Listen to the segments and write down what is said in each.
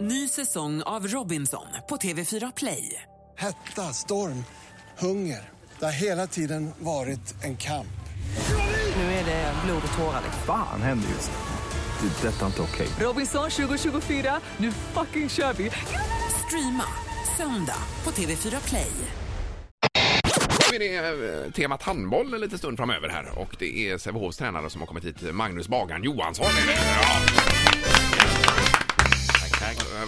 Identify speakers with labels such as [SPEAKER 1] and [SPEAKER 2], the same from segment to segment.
[SPEAKER 1] Ny säsong av Robinson på TV4 Play.
[SPEAKER 2] Hetta, storm, hunger. Det har hela tiden varit en kamp.
[SPEAKER 1] Nu är det blod och tårar. liksom.
[SPEAKER 3] Fan händer just nu. Det. är Detta är inte okej.
[SPEAKER 1] Robinson 2024, nu fucking kör vi! Streama söndag på TV4 Play.
[SPEAKER 4] Nu är det eh, temat handboll en liten stund framöver här och det är Sävehofs tränare som har kommit hit, Magnus Bagan Johansson. är det. Ja. Eh,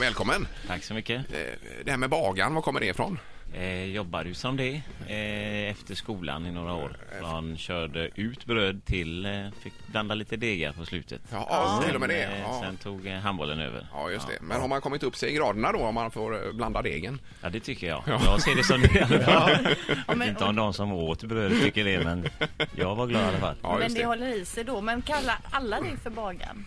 [SPEAKER 4] Välkommen!
[SPEAKER 5] Tack så mycket.
[SPEAKER 4] Eh, Det här med Bagan, var kommer det ifrån?
[SPEAKER 5] Eh, jobbar du som det eh, efter skolan i några år? Man körde ut bröd till, eh, fick blanda lite degar på slutet.
[SPEAKER 4] Ja, ja,
[SPEAKER 5] Sen,
[SPEAKER 4] till och med det.
[SPEAKER 5] eh,
[SPEAKER 4] Ja.
[SPEAKER 5] Sen tog eh, handbollen över.
[SPEAKER 4] Ja, just det. Men har man kommit upp sig i graderna då om man får eh, blanda degen?
[SPEAKER 5] Ja, det tycker jag. Jag ser det som det i alla fall.
[SPEAKER 6] men-
[SPEAKER 5] Inte om de som åt bröd tycker det, men jag var glad i alla fall.
[SPEAKER 4] Ja,
[SPEAKER 6] men
[SPEAKER 4] just
[SPEAKER 6] det,
[SPEAKER 4] det.
[SPEAKER 6] håller i sig då. Men kallar alla dig för Bagan?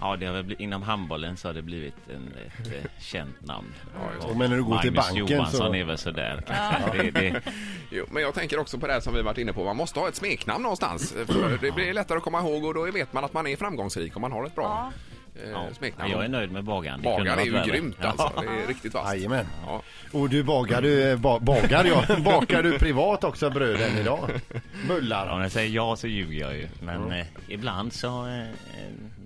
[SPEAKER 5] Ja, det har väl blivit, inom handbollen så har det blivit en, ett eh, känt namn.
[SPEAKER 4] just
[SPEAKER 7] Och men när du går till
[SPEAKER 5] Magnus
[SPEAKER 7] banken så-
[SPEAKER 5] Johansson är väl sådär. kanske. Det, det,
[SPEAKER 4] Jo, men jag tänker också på det här som vi varit inne på, man måste ha ett smeknamn någonstans. eh, För det blir lättare att komma ihåg och då vet man att man är framgångsrik om man har ett bra eh,
[SPEAKER 5] ja.
[SPEAKER 4] smeknamn.
[SPEAKER 5] Jag är nöjd med bagan. Det kunde
[SPEAKER 4] Bagan är
[SPEAKER 5] varit
[SPEAKER 4] ju
[SPEAKER 5] värre.
[SPEAKER 4] grymt alltså, det är riktigt vasst.
[SPEAKER 7] Jajamän.
[SPEAKER 4] Ja.
[SPEAKER 7] Och du bagar du, eh, ba, bagar jag, bakar du privat också bröden idag?
[SPEAKER 5] Ja, om
[SPEAKER 7] Bullar.
[SPEAKER 5] jag säger ja så ljuger jag ju. Men eh, ibland så eh, eh,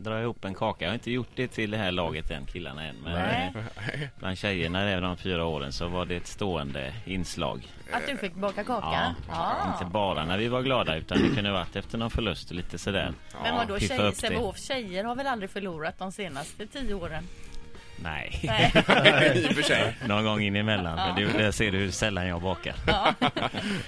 [SPEAKER 5] drar jag ihop en kaka. Jag har inte gjort det till det här laget än, killarna än. Men
[SPEAKER 6] Nej.
[SPEAKER 5] eh, bland tjejerna där de fyra åren så var det ett stående inslag.
[SPEAKER 6] Att du fick baka kaka?
[SPEAKER 5] Inte bara när vi var glada utan det kunde varit efter någon förlust och lite sådär.
[SPEAKER 6] Men vadå,
[SPEAKER 5] Piffa
[SPEAKER 6] tjejer,
[SPEAKER 5] upp det.
[SPEAKER 6] Sävehofs tjejer har väl aldrig förlorat de senaste tio åren?
[SPEAKER 5] Nej,
[SPEAKER 6] Nej.
[SPEAKER 4] I och för sig.
[SPEAKER 5] någon gång in emellan. Men det, där ser du hur sällan jag bakar.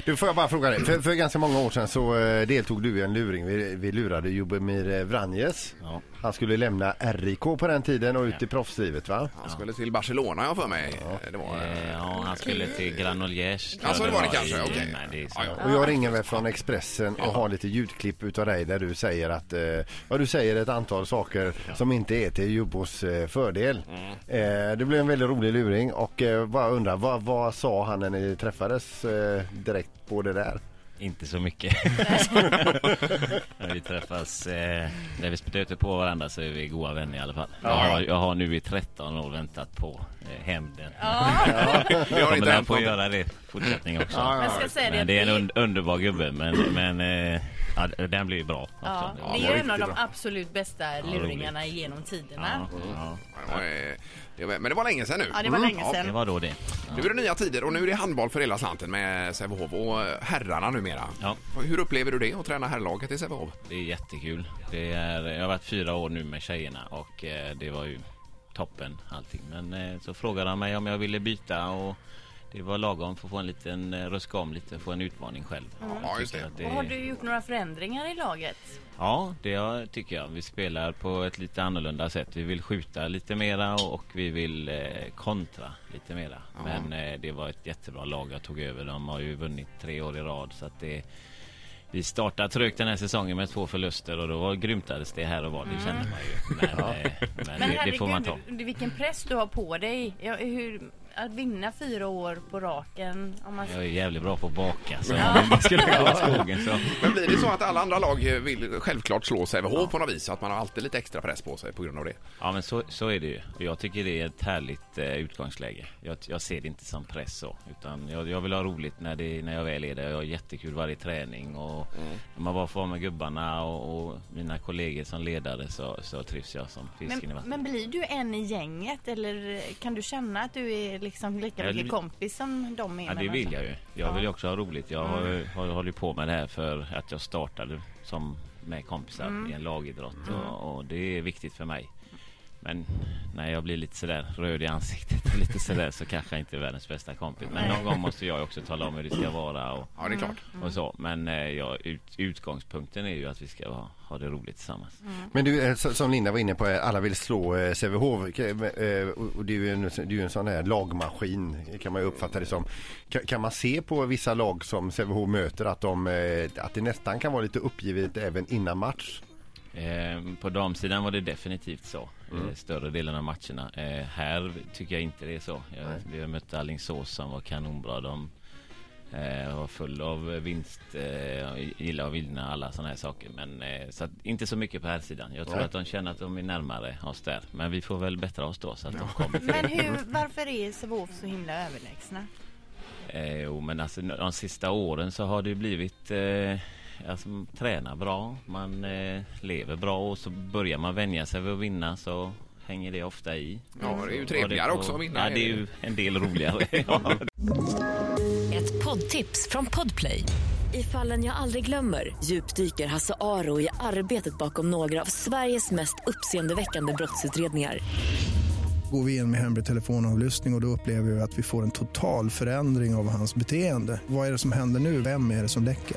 [SPEAKER 7] Du får jag bara fråga dig. För, för ganska många år sedan så eh, deltog du i en luring. Vi, vi lurade Jubomir eh, Vranjes.
[SPEAKER 5] Ja.
[SPEAKER 7] Han skulle lämna RIK på den tiden och ut i proffslivet va?
[SPEAKER 4] Han skulle till Barcelona jag för mig. Det var,
[SPEAKER 5] Eh, Ja, han skulle till Granollers. tror
[SPEAKER 4] Alltså,
[SPEAKER 5] jag
[SPEAKER 4] det var det
[SPEAKER 5] i-
[SPEAKER 4] kanske, okej.
[SPEAKER 5] Nej, det är så.
[SPEAKER 4] Ja, ja.
[SPEAKER 7] Och jag ringer väl från Expressen och har lite ljudklipp utav dig där du säger att eh, ja, du säger ett antal saker som inte är till Jubbos eh, fördel. Eh, det blev en väldigt rolig luring och eh, bara undrar vad, vad sa han när ni träffades eh, direkt på det där?
[SPEAKER 5] Inte så mycket. När vi träffas, eh, när vi stöter på varandra så är vi goda vänner i alla fall. Jag har, jag har nu i 13 år väntat på eh, hämnden.
[SPEAKER 4] Det har
[SPEAKER 5] Kommer
[SPEAKER 4] inte
[SPEAKER 5] den
[SPEAKER 4] hänt
[SPEAKER 5] få
[SPEAKER 4] någonting.
[SPEAKER 5] göra det i fortsättning också.
[SPEAKER 6] Jag ska säga det,
[SPEAKER 5] Men
[SPEAKER 6] att
[SPEAKER 5] det är en
[SPEAKER 6] det,
[SPEAKER 5] und- underbar gubbe men, men eh, ja, den blir ju bra. också.
[SPEAKER 6] ja,
[SPEAKER 5] Det
[SPEAKER 6] det
[SPEAKER 5] var-
[SPEAKER 6] är ju en
[SPEAKER 7] riktigt
[SPEAKER 6] av de
[SPEAKER 7] bra.
[SPEAKER 6] absolut bästa luringarna
[SPEAKER 5] roligt.
[SPEAKER 6] genom tiderna.
[SPEAKER 5] Ja, ja.
[SPEAKER 4] Det var, eh, det var, men det var länge sedan nu.
[SPEAKER 6] Ja, det var länge
[SPEAKER 5] Det
[SPEAKER 6] sedan.
[SPEAKER 5] var då det.
[SPEAKER 4] Nu är det nya tider och nu är det handboll för hela slanten med Sävehof och eh, herrarna numera.
[SPEAKER 5] Ja.
[SPEAKER 4] Hur upplever du det att träna herrlaget i Sävehof?
[SPEAKER 5] Det är jättekul. Det är, jag har varit fyra år nu med tjejerna och eh, det var ju toppen allting. Men eh, så frågade han mig om jag ville byta och det var lagom för att få en liten eh, ruska om lite och få en utmaning själv. Jag
[SPEAKER 4] Mm. Ja, just
[SPEAKER 5] tycker
[SPEAKER 4] det.
[SPEAKER 5] att
[SPEAKER 6] Och har du gjort några förändringar i laget?
[SPEAKER 5] Ja, det har- tycker jag. Vi spelar på ett lite annorlunda sätt. Vi vill skjuta lite mera och, och vi vill eh, kontra lite mera. Men eh, det var ett jättebra lag jag tog över. De har ju vunnit tre år i rad så att det vi startade trögt den här säsongen med två förluster och då var- grymtades det här och var. Det kände man ju. Men, eh, men,
[SPEAKER 6] Men
[SPEAKER 5] det, det får man ta.
[SPEAKER 6] herregud, vilken press du har på dig. Ja, hur, att vinna fyra år på raken. Om man...
[SPEAKER 5] Jag är jävligt bra på att baka så om det skulle gå åt skogen så.
[SPEAKER 4] Men blir det så att alla andra lag eh, vill självklart slå Sävehof på något vis? Så att man har alltid lite extra press på sig på grund av det?
[SPEAKER 5] Ja men så, så är det ju. Och jag tycker det är ett härligt eh, utgångsläge. Jag, jag ser det inte som press så. Utan jag, jag vill ha roligt när, det, när jag väl är där. Jag har jättekul varje träning och när man bara får vara med gubbarna och, och mina kollegor som ledare så, så trivs jag som fisken i
[SPEAKER 6] Men,
[SPEAKER 5] vattnet.
[SPEAKER 6] men blir du en i gänget eller kan du känna att du är liksom lika
[SPEAKER 5] Jag
[SPEAKER 6] mycket
[SPEAKER 5] vill-
[SPEAKER 6] kompis som de är?
[SPEAKER 5] Ja,
[SPEAKER 6] med
[SPEAKER 5] det vill
[SPEAKER 6] varandra?
[SPEAKER 5] jag ju. Jag vill ju också ha roligt. Jag har, ju- har, håller ju på med det här för att jag startade som med kompisar i en lagidrott och, och det är viktigt för mig. Men när jag blir lite sådär röd i ansiktet och lite sådär så kanske jag inte är världens bästa kompis. Men någon gång måste jag ju också tala om hur det ska vara och,
[SPEAKER 4] Ja, det är klart.
[SPEAKER 5] och så. Men eh, ja, ut, utgångspunkten är ju att vi ska ha, ha det roligt tillsammans.
[SPEAKER 7] Men du, eh, så- som Linda var inne på, eh, alla vill slå eh, Sävehof eh, eh, och och det är ju en, det är ju en sån här lagmaskin kan man ju uppfatta det som. Ka- Kan man se på vissa lag som Sävehof möter att, de, eh, att det nästan kan vara lite uppgivet även innan match?
[SPEAKER 5] Eh, på damsidan var det definitivt så. Eh, större delen av matcherna. Eh, här tycker jag inte det är så. Jag, vi har mött Alingsås som var kanonbra. De Eh, var full av vinst, eh, gillar att vinna alla sådana här saker. Men eh, så att, inte så mycket på här sidan. Jag tror att de känner att de är närmare oss där. Men vi får väl bättra oss då så att de kommer.
[SPEAKER 6] Men hur, varför är Sävehof så himla överlägsna?
[SPEAKER 5] Eh, jo, men alltså, de sista åren så har det ju blivit... Eh, alltså, man tränar bra, man eh, lever bra och så börjar man vänja sig vid att vinna så hänger det ofta i.
[SPEAKER 4] Ja, det är ju
[SPEAKER 5] Och
[SPEAKER 4] trevligare
[SPEAKER 5] får-
[SPEAKER 4] också att vinna.
[SPEAKER 5] Ja, det är ju en del roligare. ja.
[SPEAKER 8] Ett poddtips från Podplay. I fallen jag aldrig glömmer djupdyker Hasse Aro i arbetet bakom några av Sveriges mest uppseendeväckande brottsutredningar.
[SPEAKER 9] Går vi in med hemlig telefonavlyssning och, och då upplever vi att vi får en total förändring av hans beteende. Vad är det som händer nu? Vem är det som läcker?